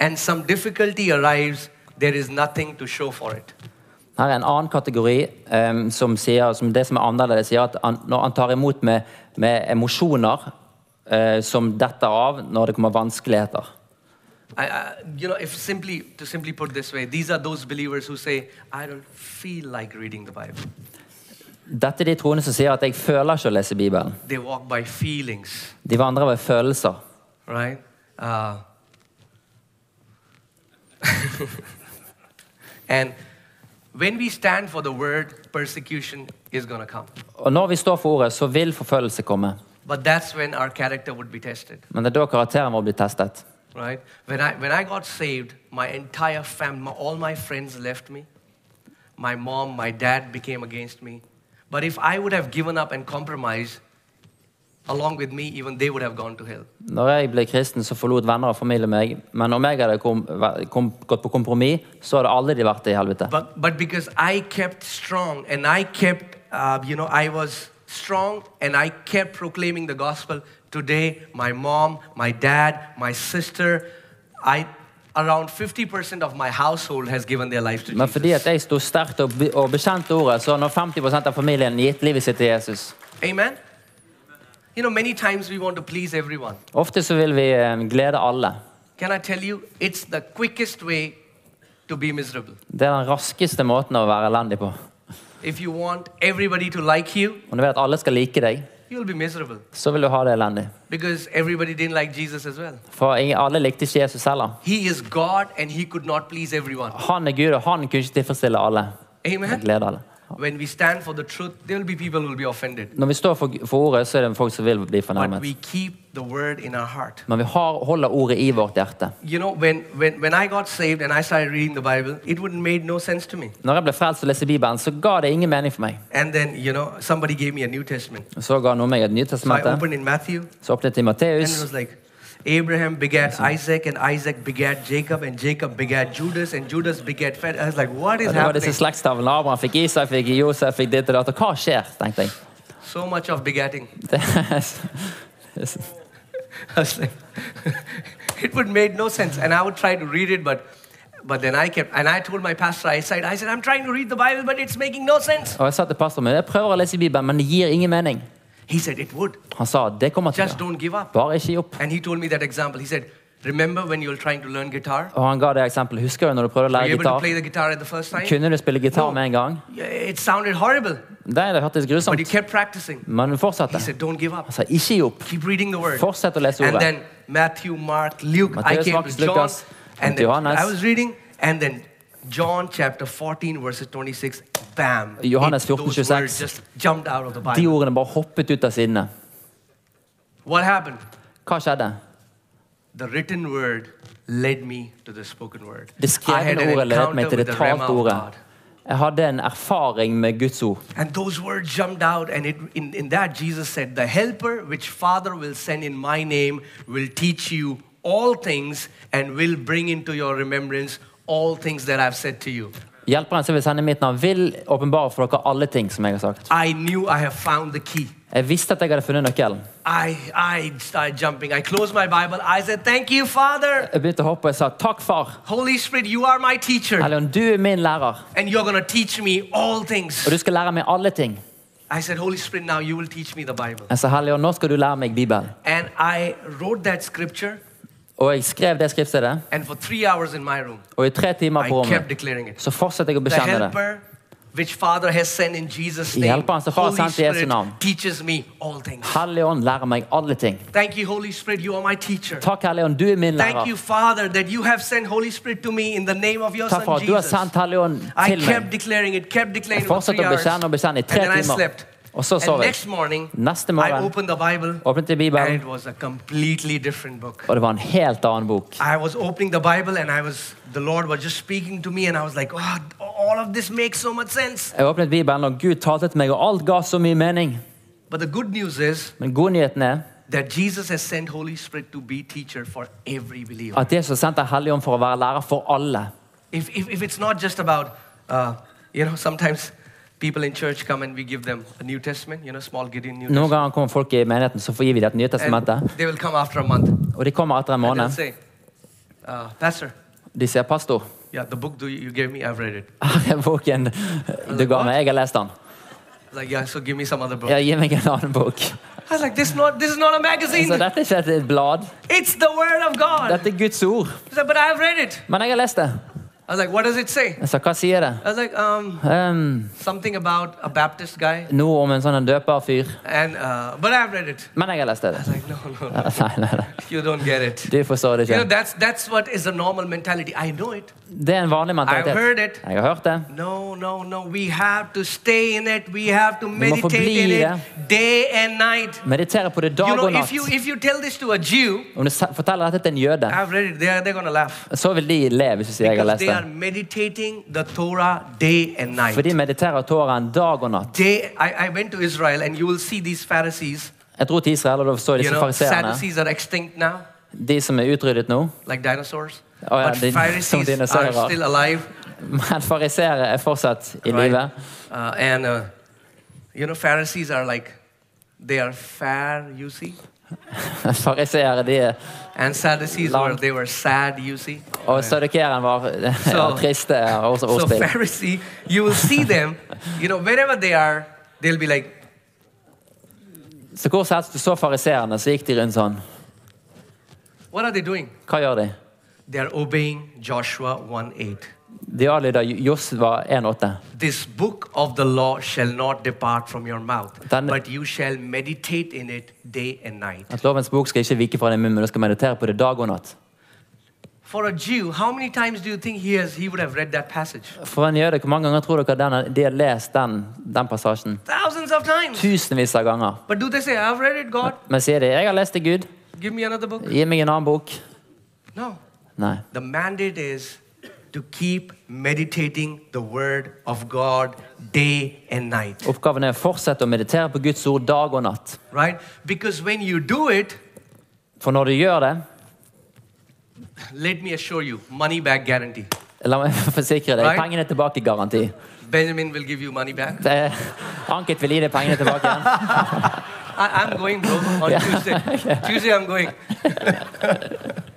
and some difficulty arrives, there is nothing to show for it. Her er en annen kategori em, som sier som det som er annerledes, sier at han, når han tar imot med, med emosjoner eh, som detter av når det kommer vanskeligheter. I, I, you know, if simply to simply put this way, these are those believers who say, "I don't feel like reading the Bible." Dette er de troende som sier at 'jeg føler ikke å lese Bibelen'. They walk by feelings, De vandrer ved følelser. right? Uh, and when we stand for the word, persecution is going to come. Og når vi står for ordet, så vil forfølgelse komme. But that's when our character would be tested. Men det er da karakteren vår blir testet. right? When I, when I got saved, my entire family, all my friends left me. My mom, my dad became against me. But if I would have given up and compromised, along with me, even they would have gone to hell. Når jeg ble kristen, så forlot venner og familie meg. Men om jeg hadde kom, væ- kom, gått på kompromiss, så hadde alle de vært i helvete. But, but because I kept strong and I kept, uh, you know, I was strong and I kept proclaiming the gospel, today, my mom, my dad, my sister, I, around 50% of my household has given their lives to Men Jesus. fordi at jeg sto sterkt og, be- og bekjente ordet, så har nå 50 av familien gitt livet sitt til Jesus. Amen? You know, many times we want to please everyone. Ofte så vil vi eh, glede alle. Can I tell you, it's the quickest way to be miserable. Det er den raskeste måten å være elendig på. If you want everybody to like you, Om du vil at alle skal like deg, you'll be miserable så vil du ha det elendig. because everybody didn't like Jesus as well. For ingen, alle likte ikke Jesus heller. He is God and he could not please everyone. Han er Gud, og han kunne ikke tilfredsstille alle. og Amen? Glede alle. When we stand for the truth, there will be people who will be offended. Når vi står for, for ordet, så er det folk som vil bli But fornærmet. we keep the word in our heart. Men vi har, holder ordet i vårt hjerte. You know, when, when, when I got saved and I started reading the Bible, it would made no sense to me. Når jeg ble frelst og leste Bibelen, så ga det ingen mening for meg. And then, you know, somebody gave me a New Testament. Så ga noen meg et So I Nytestamentet. opened in Matthew, Så åpnet jeg And it Matteus. was like, Abraham begat Isaac, and Isaac begat Jacob, and Jacob begat Judas, and Judas begat Fed. I was like, what is Og det var disse happening? slektstavlene. Abraham fikk Isak, fikk Josef, fikk ditt og datt. Og hva skjer, tenkte jeg. So much of begatting. Det, I was like, it would made no sense. And I would try to read it, but but then I kept and I told my pastor, I said, I said, I'm trying to read the Bible, but it's making no sense. og jeg sa til pastoren min jeg prøver å lese Bibelen, men det gir ingen mening. He said, It would. Han sa det kommer til å Just gjøre. don't give up. Bare ikke gi opp. And he told me that example. He said, Remember when you were trying to learn guitar? Og han ga det eksempelet. Husker du når du prøvde å Were you lære able to gitar? play the guitar at the first time? Kunne du spille gitar No. med en gang? Yeah, It sounded horrible, Det det hørtes but you grusomt kept practicing. Men du He fortsatte. said, Don't give up. Han sa ikke gi opp. Keep reading the word. Fortsett å lese And ordet. then Matthew, Mark, Luke, I Matthäus, came Markus, to John. Lukas, and then Johannes. I was reading, and then John chapter 14, verses 26, bam. Johannes it- 14, those 26. words just jumped out of the De Bible. ordene bare hoppet ut av sidene. What happened? Hva skjedde? The written word led me to the spoken word. Det I had an skrevne ordet ledet encounter meg til with det the Rema talte of ordet. God. Jeg hadde en erfaring med Guds ord. And those words jumped out, and it, in, in that Jesus said, The helper which Father will send in my name will teach you all things and will bring into your remembrance all things that I've said to you. Hjelperen som vil sende i mitt navn, vil åpenbare for dere alle ting som jeg har sagt. I knew I have found the key. Jeg visste at jeg hadde funnet nøkkelen. I, I started jumping. I closed my Bible. I said, Thank you, Father. Jeg begynte å hoppe og jeg sa takk, far. Holy Spirit, you are my teacher, Helligånd, du er min lærer, and you're going to teach me all things. og du skal lære meg alle ting. I said, Holy Spirit, now you will teach me the Bible. Jeg sa, Helligånd, nå skal du lære meg Bibelen. And I wrote that scripture, Og jeg skrev det skriftstedet, and for three hours in my room, og i tre timer I på kept rommet declaring it. så fortsatte jeg å The bekjenne det. helper which Father has sent in Jesus' name, Hjälparen som Far har Holy sänt i Jesu Spirit namn. teaches me all things. Helligånd, lærer meg alle ting. Thank you, Holy Spirit, you are my teacher. Takk, Helligånd, du er min Thank lærer. you, Father, that you have sent Holy Spirit to me in the name of your Takk for Son at du har Jesus. sendt Helligånd I til kept meg. declaring it, kept declaring Jeg it for three fortsatte å hours. bekjenne og bekjenne i and tre then I timer. slept. Og så and sov jeg. next morning, Nästa I morgon opened the Oh, Bible, åpnet jeg and Bibelen, it was a completely different book. og det var en helt annen bok. I was opening the Bible, and I was the Lord was just speaking to me, and I was like, "Oh, all of this makes so much sense." Jeg åpnet Bibelen, og Gud talte til meg, og alt ga så mye mening. But the good news is Men godnyheten er that Jesus has sent Holy Spirit to be teacher for every believer. at Jesus sendte Helligånd for å være lærer for alle. If, if, if it's not just about, uh, you know, sometimes people in church come and we give them a New Testament, you know, small Gideon New Noen ganger kommer folk i menigheten, så får vi dem det nye Testament. testamentet. And they will come after a month and Og de kommer etter en they'll måned. say, uh, Pastor, De sier, 'Pastor, yeah, the book do you you gave me, I've read it. her er boken du ga meg. Jeg har lest den. Like, yeah, so give me some other book. Ja, gi meg en annen bok. I was like, this, not, this is not a magazine. Så dette er ikke et blad. It's the Word of God. Dette er Guds ord. He said, but I've read it. Men jeg har lest det. I was like, what does it say? Jeg sa, hva sier det? I was like, um, Ehm, something about a Baptist guy. noe om en sånn en døperfyr. And, uh, but I've read it. Men jeg har lest det. I was like, no, no, no, Ja, Nei, nei, nei. you don't get it. Du forstår det You know, ikke. that's, that's what is a normal mentality. I know it. Det er en vanlig I've heard mentalitet. it. Jeg har hørt det. No, no, no. We have to stay in it. We have to må meditate in forbli i it day and night. Meditere på det You dag know, og if you natt. if you tell this to a Jew, Om du se- forteller dette til en jøde, I've read it. They're they're gonna laugh så vil de le hvis du sier jeg har because lest they are det. meditating the Torah day and night. For de mediterer Toraen dag og natt. Day. I, I went to Israel, and you will see these Pharisees. Jeg dro til Israel, og da så jeg You disse know, fariseerne. Sadducees are extinct now, De som er utryddet nå. like dinosaurs. Oh, yeah, but they- some Pharisees are dinosaurs are. still alive, Men fariseere er fortsatt i right? live. Uh, and uh, you know, Pharisees are like they are fair, you see, Fariseere, de er and Sadducees Long. were they were sad, you see. Og sadukeren var Så- triste og So ordspill. Pharisee, you will see them, you know, wherever they are, they'll be like, Så hvor som helst du så fariseerne, så gikk de rundt sånn. what are they doing? Hva gjør de? They are obeying Joshua 1.8. De adlyder Jo- Josva 1,8. This book of the law shall not depart from your mouth, Then- but you shall meditate in it day and night. At lovens bok skal ikke vike fra din munn, men du skal meditere på det dag og natt. For a Jew, how many times do you think he has he would have read that passage? For en jøde, hvor mange ganger tror dere den, de har lest den, den passasjen? Thousands of times. Tusenvis av ganger. But do they say, I've read it, God, Men sier de 'Jeg har lest det, Gud. give me another book? Gi meg en annen bok'. No. Nei. The mandate is to keep meditating the word of God day and night. Oppgaven er å fortsette å meditere på Guds ord dag og natt. right? Because when you do it, For når du gjør det let me assure you, money back guarantee. La meg forsikre deg. Right. Pengene tilbake-garanti. Benjamin will give you money back. Anket vil gi deg pengene tilbake igjen. I, I'm going, bro, on Tuesday. Tuesday, I'm going.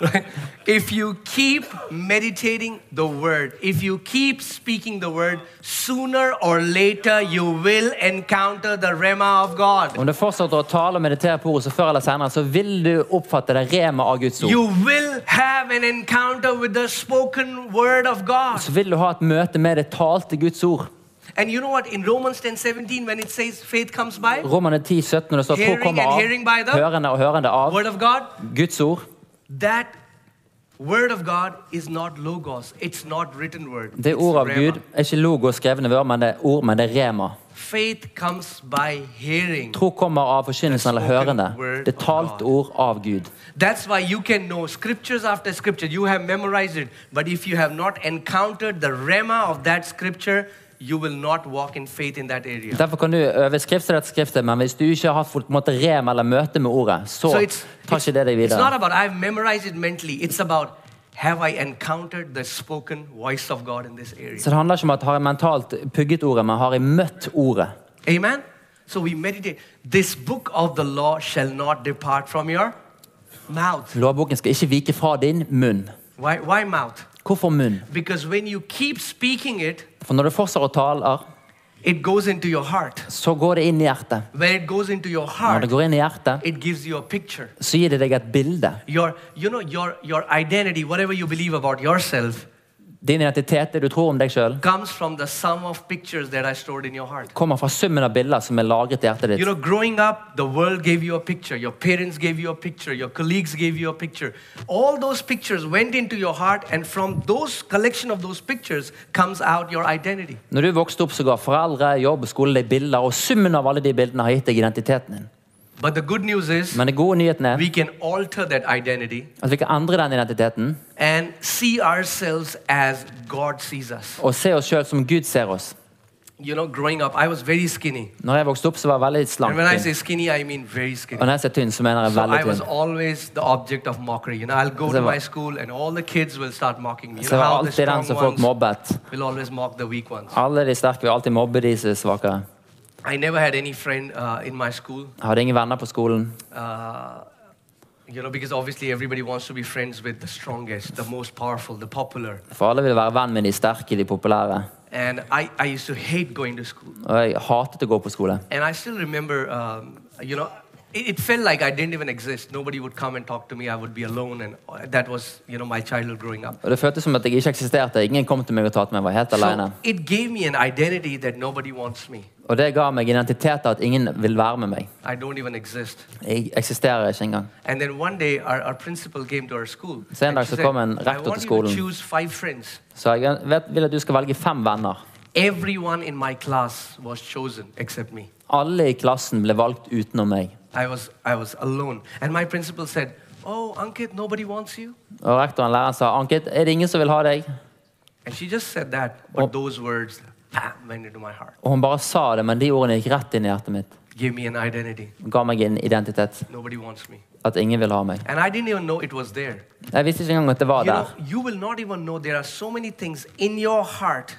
right? If you keep meditating the word, if you keep speaking the word, sooner or later you will encounter the Rema of God. Om du fortsetter å tale og meditere på ordet, så før eller senere så vil du oppfatte det rema av Guds ord. You will have an encounter with the spoken word of God. Så vil du ha et møte med det talte Guds ord. And you know what? In Romans 10 17, when it says faith comes by, Romerne 10, 17, når det står tro Hearing kommer and av, hearing by the- hørende og hørende av. word of God, Guds ord. that word of God is not logos. It's not written word. Det It's ord av rhema. Gud er ikke logo og skrevne ord, men det er ord, men det er rema. Faith comes by hearing. Tro kommer av forkynnelsen eller hørende. word Det of God. talte ord av Gud. That's why you can know scriptures after scripture. You have memorized it. But if you have not encountered the rema of that scripture, you will not walk in faith in that area. Derfor kan du eh, øve skrift til dette skriftet, men hvis du ikke har fått på en måte rema eller møte med ordet, så so it's, tar it's, ikke det deg it's not videre. about I've memorized it mentally. It's about have I encountered the spoken voice of God in this area? Så det handler ikke om at har jeg mentalt pugget ordet, men har jeg møtt ordet? Amen. So we meditate. This book of the law shall not depart from your mouth. Lovboken skal ikke vike fra din munn. Why, why mouth? Hvorfor munn? Because when you keep speaking it, For når du fortsetter å taler, it goes into your heart. så går det inn i hjertet. When it goes into your Når heart, det går inn i hjertet, it gives you a picture. så gir det deg et bilde. Your, you know, your, your identity, whatever you believe about yourself, Din identitet, det du tror om deg sjøl, comes from the sum of pictures that are stored in your heart. kommer fra summen av bilder som er lagret i hjertet You ditt. know, growing up, the world gave you a picture. Your parents gave you a picture. Your colleagues gave you a picture. All those pictures went into your heart, and from those collection of those pictures comes out your identity. Når du vokste opp, så ga foreldre, jobb, skole deg bilder, og summen av alle de bildene har gitt deg identiteten din. But the good news is Men den gode nyheten er we can alter that identity at vi kan endre den identiteten and see ourselves as God sees us. og se oss sjøl som Gud ser oss. You know, growing up, I was very skinny. Når jeg vokste opp, så var jeg veldig And when I slank. say tynn. skinny, I mean very Og skinny. når jeg ser tynn, så mener jeg So I veldig was tynn. always the object of mockery. You know, I'll go Så to jeg var- my school and all the kids will start mocking me. You Så know, jeg var how the alltid den strong som folk ones mobbet. will always mock the weak ones. Alle de sterke vil alltid mobbe de som er svakere. I never had any friend uh, in my school, Jeg hadde ingen venner på skolen. uh, you know, because obviously everybody wants to be friends with the strongest, the most powerful, the popular. For alle ville være venn med de sterke, de populære. And I, I used to hate going to school. Og jeg hatet å gå på skole. And I still remember, um, you know, it, it felt like I didn't even exist. Nobody would come and talk to me. I would be alone. And uh, that was, you know, my childhood growing up. Og Det føltes som at jeg ikke eksisterte. Ingen kom til meg og tatt meg. Jeg var helt alene. So it gave me an identity that nobody wants me. Og det ga meg identitet av at ingen vil være med meg. I don't even exist. Jeg eksisterer ikke engang. And then one day, our, our principal came to our school. Så en and dag she så said, kom en rektor I til want you skolen." to choose five friends. Så jeg vet, vil at du skal velge fem venner. Everyone in my class was chosen except me. Alle i klassen ble valgt utenom meg. I was, I was alone. And my principal said, Oh, Ankit, nobody wants you. Og rektoren læreren sa Ankit, er det ingen som vil ha deg? And she just said that. But those words, bam, went into my heart. Og hun bare sa det, men de ordene gikk rett inn i hjertet mitt. Gave me an identity. Og ga meg en identitet. Nobody wants me. At ingen vil ha meg. And I didn't even know it was there. Jeg visste ikke engang at det var You, know, der. you will not even know there are so many things in your heart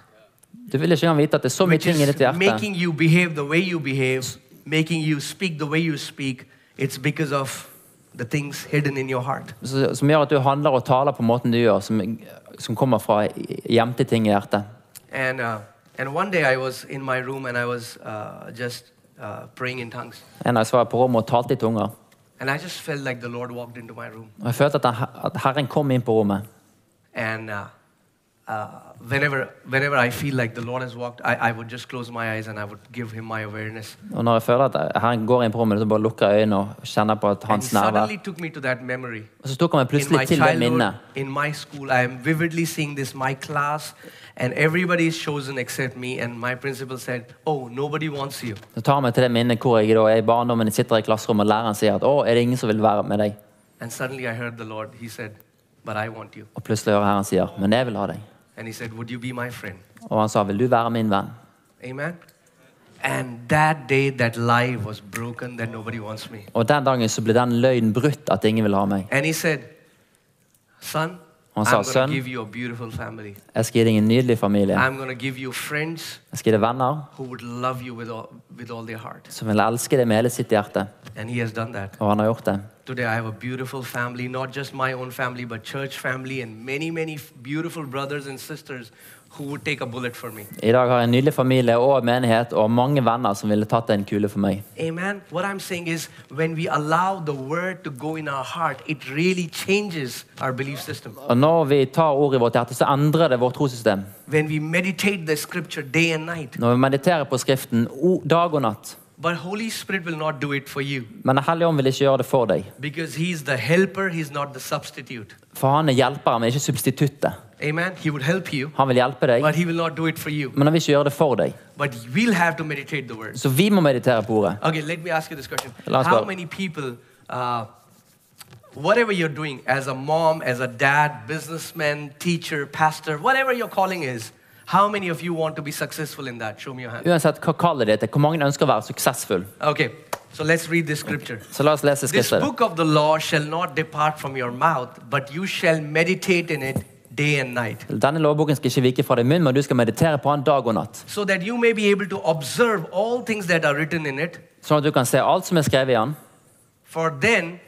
Du vil ikke engang vite at det er så mye which ting i is ditt hjerte making you behave the way you behave, making you speak the way you speak. It's because of the things hidden in your heart. som som gjør at du handler og taler på måten du gjør, som, som kommer fra gjemte ting i hjertet. And, uh, and one day I was in my room and I was uh, just uh, praying in tongues. En dag så var jeg på rommet og talte i tunger. And I just felt like the Lord walked into my room. Og jeg følte at, han, at Herren kom inn på rommet. And uh, uh, whenever, whenever I feel like the Lord has walked, I, I would just close my eyes and I would give him my awareness. Og når jeg føler at Herren går inn på rommet, så bare lukker jeg øynene og kjenner på at And hans he nærvær. suddenly took me to that memory. Og så tok han meg In my plutselig til det minnet. childhood, in my school, I am vividly seeing this, my class, and everybody is chosen except me. And my principal said, Oh, nobody wants you. Så tar han meg til det minnet hvor jeg da er i barndommen, jeg sitter i klasserommet og læreren sier at å, er det ingen som vil være med deg? And suddenly I heard the Lord. He said, But I want you. Og plutselig hører Herren sier, men jeg vil ha deg. And he said, Would you be my friend? Og han sa, vil du være min venn? Amen. And that day, that lie was broken that nobody wants me. Og den dagen så ble den løgnen brutt at ingen vil ha meg. And he said, Son, Han sa, I'm going "Sønn." to give you a beautiful family. Jeg skal gi deg en nydelig familie. I'm going to give you friends Jeg skal gi deg venner who would love you with all, with all their heart. som vil elske deg med hele sitt hjerte. And he has done that. Og han har gjort det. Today I have a beautiful family, not just my own family, but church family and many, many f- beautiful brothers and sisters who would take a bullet for me. I dag har jeg en nydelig familie og menighet og mange venner som ville tatt en kule for meg. Amen. What I'm saying is when we allow the word to go in our heart, it really changes our belief system. Og når vi tar ordet i vårt hjerte, så endrer det vårt trossystem. When we meditate the scripture day and night, Når vi mediterer på Skriften o- dag og natt. but Holy Spirit will not do it for you Men Den hellige ånd vil ikke gjøre det for deg. because he's the helper, he's not the substitute. For han er hjelperen, men ikke substituttet. Amen. He would help you, Han vil hjelpe deg, but he will not do it for you. men han vil ikke gjøre det for deg. But we'll have to meditate the word. Så vi må meditere på ordet. Okay, let me ask you this question. Last How one. many people, uh, whatever you're doing as a mom, as a dad, businessman, teacher, pastor, whatever your calling is, how many of you want to be successful in that? Show me your hand. Uansett hva kallet ditt er, hvor mange ønsker å være suksessfull. Okay, so let's read this scripture. Så la oss lese This Skriften. book of the law shall not depart from your mouth, but you shall meditate in it day and night, Denne lovboken skal ikke vike fra din munn, men du skal meditere på den dag og natt. so that you may be able to observe all things that are written in it. Sånn at du kan se alt som er skrevet i den. For then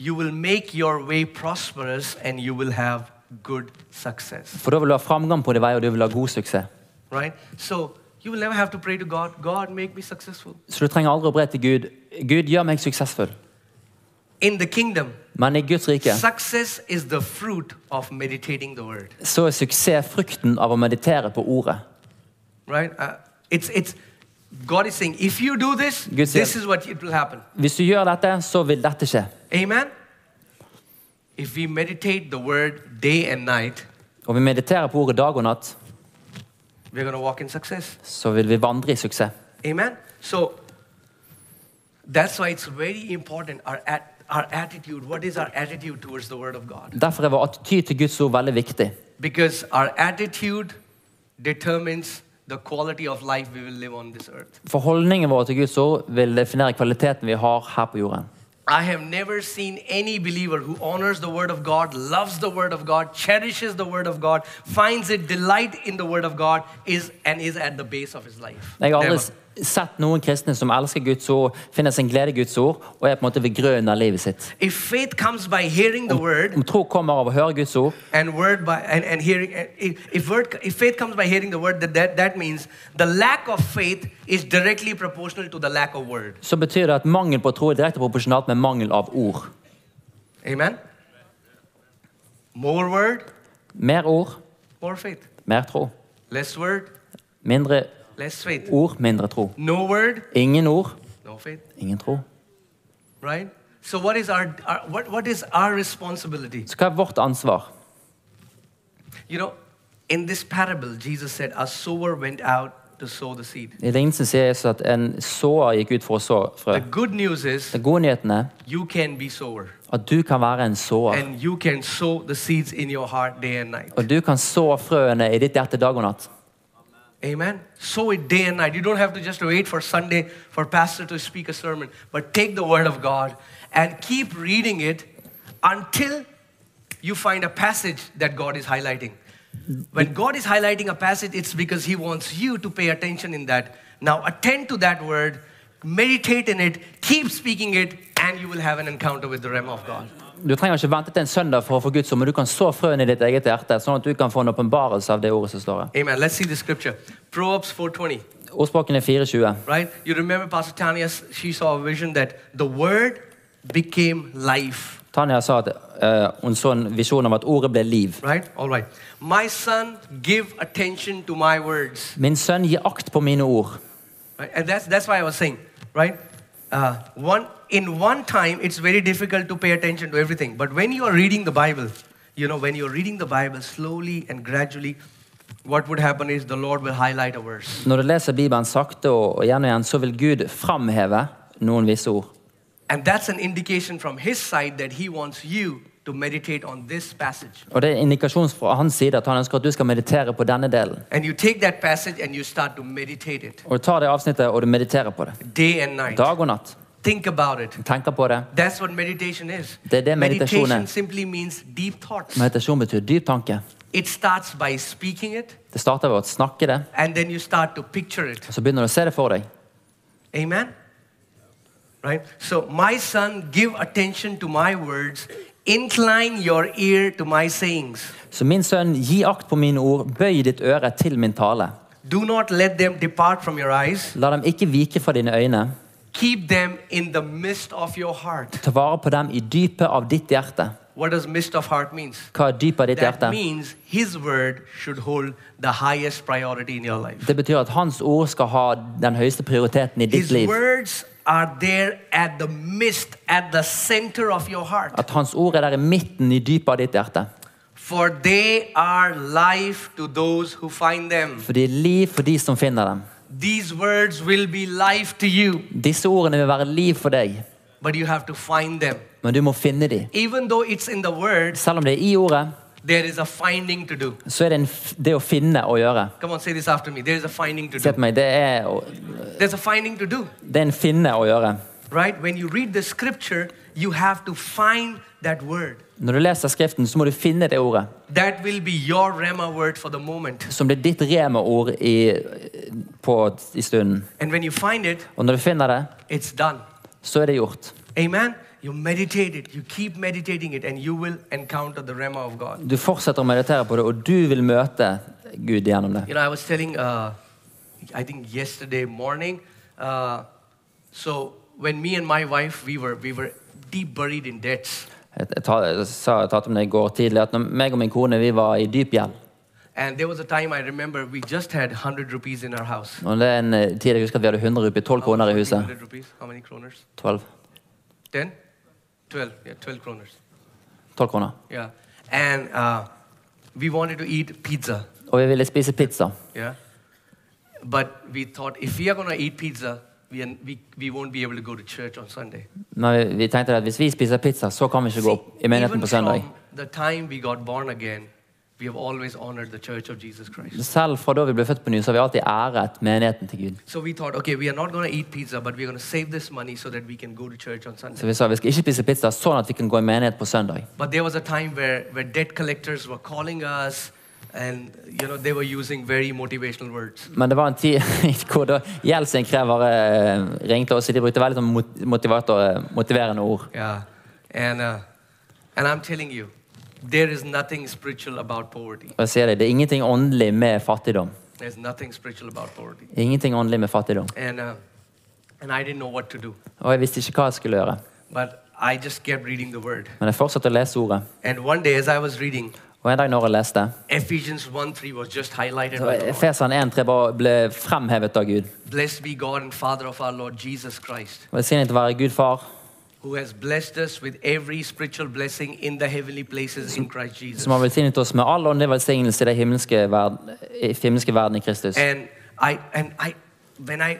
you will make your way prosperous and you will have good success. For da vil du ha framgang på din vei, og du vil ha god suksess. Right? So you will never have to pray to God, God, make me successful. Så du trenger aldri å bre til Gud. Gud, gjør meg suksessfull. In the kingdom, Men i Guds rike success is the fruit of meditating the word. så er suksess frukten av å meditere på ordet. Right? Uh, it's, it's, God is saying, if you do this, Good this said. is what it will happen. Hvis du gjør dette, så vil dette skje. Amen? If we meditate the word day and night, Og vi mediterer på ordet dag og natt, we're going to walk in success. så vil vi vandre i suksess. Amen. So that's why it's very important our at, our attitude. What is our attitude towards the Word of God? Derfor er vår attityd til Guds ord veldig viktig. Because our attitude determines the quality of life we will live on this earth. For holdningen vår til Guds ord vil definere kvaliteten vi har her på jorden. I have never seen any believer who honors the Word of God, loves the Word of God, cherishes the Word of God, finds it delight in the Word of God, is and is at the base of his life. Jeg har Never. aldri, sett noen kristne som elsker Guds ord, finner sin glede i Guds ord, og er på en måte begrunnet livet sitt. If faith comes by hearing the word Om tro kommer av å høre Guds ord, and word by and, and hearing and if if word if faith comes by hearing the word that, that that means the lack of faith is directly proportional to the lack of word. så betyr det at mangel på tro er direkte proporsjonalt med mangel av ord. Amen. More word, Mer ord, more faith. mer tro. Less word, Mindre less faith. ord, mindre tro. No word, Ingen ord, no faith. ingen tro. Right? So what is our, our what, what is our responsibility? Så hva er vårt ansvar? You know, in this parable, Jesus said, a sower went out to sow the seed. I lignelsen sier Jesus at en såer gikk ut for å så frø. The good news is Den gode nyheten er you can be sower at du kan være en såer. and you can sow the seeds in your heart day and night. Og du kan så frøene i ditt hjerte dag og natt. Amen. Sow it day and night. You don't have to just wait for Sunday for pastor to speak a sermon, but take the word of God and keep reading it until you find a passage that God is highlighting. When God is highlighting a passage, it's because he wants you to pay attention in that. Now attend to that word, meditate in it, keep speaking it, and you will have an encounter with the realm of God. Du trenger ikke vente til en søndag for å få Guds ord, men du kan så frøene i ditt eget hjerte, sånn at du kan få en åpenbarelse av det ordet som står her. Amen. Let's see the scripture. Proverbs 420. Ordspråkene 4.20. right? You remember Pastor Tanya, s- she saw a vision that the word became life, Tanja sa at eh, hun så en visjon om at ordet ble liv. right? All right. My son, give attention to my words. Min sønn, gi akt på mine ord. Right? And that's, that's why I was saying, right? Uh, one, in one time, it's very difficult to pay attention to everything. But when you are reading the Bible, you know, when you're reading the Bible slowly and gradually, what would happen is the Lord will highlight a verse. Når du leser Bibelen sakte og, og igjen og igjen, så vil Gud framheve noen visse ord. And that's an indication from His side that He wants you to meditate on this passage. Og det er indikasjon fra hans side at han ønsker at du skal meditere på denne delen. And you take that passage and you start to meditate it Og du tar det avsnittet og du mediterer på det. day and night. Dag og natt. Think about it. Tenker på det. That's what meditation is. Det er det meditasjon er. meditation simply means deep thoughts. Meditasjon betyr dyp tanke. It starts by speaking it Det starter ved å snakke det, and then you start to picture it. og så begynner du å se det for deg. Amen? Right? So, my son, give attention to my words, incline your ear to my sayings. Så min sønn, gi akt på mine ord, bøy ditt øre til min tale. Do not let them depart from your eyes, La dem ikke vike fra dine øyne. keep them in the midst of your heart. Ta vare på dem i dypet av ditt hjerte. What does midst of heart means? Hva er dypet av ditt That hjerte? means his word should hold the highest priority in your life. Det betyr at hans ord skal ha den høyeste prioriteten i ditt His liv. words are there at the midst, at the center of your heart. At hans ord er der i midten, i dypet av ditt hjerte. For they are life to those who find them. For de er liv for de som finner dem. These words will be life to you, Disse ordene vil være liv for deg, but you have to find them. men du må finne dem. Even though it's in the words, Selv om det er i ordet, there is a finding to do. så er det en f det å finne å gjøre. Come on, say this after me. There is a finding to Se do. på meg, det er, å- There's a finding to do, det er en finne å gjøre. right? When you read the scripture, you have to find that word. Når du leser Skriften, så må du finne det ordet That will be your Rema word for the moment. som blir ditt rema-ord i, på- i stunden. And when you find it, Og når du finner det, it's done. så er det gjort. Amen. You meditate it, you keep meditating it, and you will encounter the Rema of God. Du fortsetter å meditere på det, og du vil møte Gud gjennom det. You know, I was telling, uh, I think yesterday morning. Uh, so when me and my wife, we were we were deep buried in debts, Jeg, jeg, ta, jeg sa jeg talte om det i går tidlig, at når meg og min kone vi var i dyp gjeld and there was a time I remember we just had hundred rupees in our house. Og det er en eh, tid jeg husker at vi hadde 100 rupier, 12 kroner i huset. Hundred rupees. How many kroners? 12, Ten? Twelve. Yeah, twelve kroners. 12 kroner. Yeah. And uh, we wanted to eat pizza. Og vi ville spise pizza. Yeah. But we thought if we are going to eat pizza, we, are, we, we won't be able to go to church on Sunday. Men vi, vi tenkte at hvis vi spiser pizza, så kan vi ikke gå opp i menigheten even på søndag. from the time we got born again, we have always honored the church of Jesus Christ. Selv fra da vi ble født på ny, så har vi alltid æret menigheten til Gud. So we thought, okay, we are not going to eat pizza, but we're going to save this money so that we can go to church on Så Sunday. vi sa vi skal ikke spise pizza sånn at vi kan gå i menighet på søndag. But there was a time where, where debt collectors were calling us And, you know, they were using very motivational words. Men det var en tid hvor da gjeldsinnkrevere eh, ringte oss, og de brukte veldig sånn mot- motivator, eh, motiverende ord. Yeah. And, uh, and I'm telling you, there is nothing spiritual about poverty. Og jeg sier det, det er ingenting åndelig med fattigdom. There's nothing spiritual about poverty. Ingenting åndelig med fattigdom. And, uh, and I didn't know what to do. Og jeg visste ikke hva jeg skulle gjøre. But I just kept reading the word. Men jeg fortsatte å lese ordet. And one day, as I was reading, Og en dag når jeg leste, Ephesians 1 3 was just highlighted. så by the Lord. Feseren 1.3 bare ble fremhevet av Gud. Blessed be God and Father of our Lord Jesus Christ, Velsignet være Gud far, who has blessed us with every spiritual blessing in the heavenly places in Christ Jesus. som har velsignet oss med all åndelig velsignelse i den himmelske verden, i himmelske verden i Kristus. And I and I when I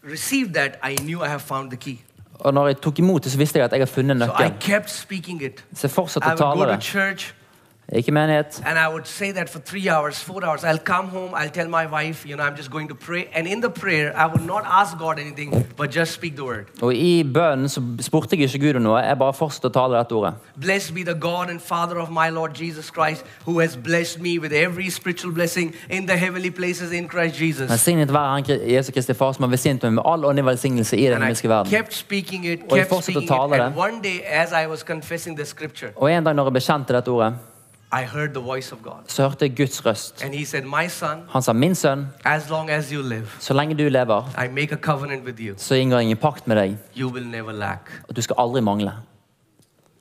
received that, I knew I have found the key. Og når jeg tok imot det, så visste jeg at jeg har funnet So I nøkkelen. kept speaking it. Så jeg I fortsatte å would go tale to det. church Ikke menighet. and I would say that for three hours, four hours. I'll come home, I'll tell my wife, you know, I'm just going to pray. And in the prayer, I would not ask God anything, but just speak the word. Og i bønnen så spurte jeg ikke Gud om noe, jeg bare fortsatte å tale dette ordet. Blessed be the God and Father of my Lord Jesus Christ, who has blessed me with every spiritual blessing in the heavenly places in Christ Jesus. Velsignet være Han Kri- Jesu Kristi Far som har velsignet meg med all åndelig velsignelse i den And I himmelske verden. kept speaking it, Og jeg kept fortsatte å speaking it. tale det. And one day, as I was confessing the scripture, Og en dag når jeg bekjente dette ordet, I heard the voice of God. så hørte jeg Guds røst. And He said, My son, Han sa, min sønn, as long as you live, så lenge du lever, I make a covenant with you. så inngår jeg ingen pakt med deg, You will never lack. og du skal aldri mangle.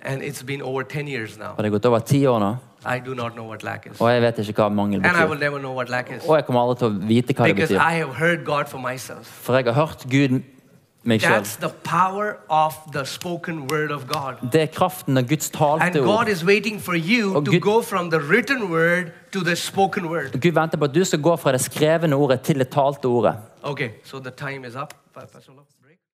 And it's been over 10 years now. Og det er gått over ti år nå, I do not know what lack is. og jeg vet ikke hva mangel And I will betyr. never know what lack is. Og jeg kommer aldri til å vite hva det Because betyr. I have heard God for myself. For jeg har hørt Gud meg sjøl. That's the power of the spoken word of God. Det er kraften av Guds And talte God ord. is waiting for you Oh, to good. go from the written word to the spoken word. Gud venter på at du skal gå fra det skrevne ordet til det talte ordet. Okay, so the time is up. Pa- Pastor Lo, break.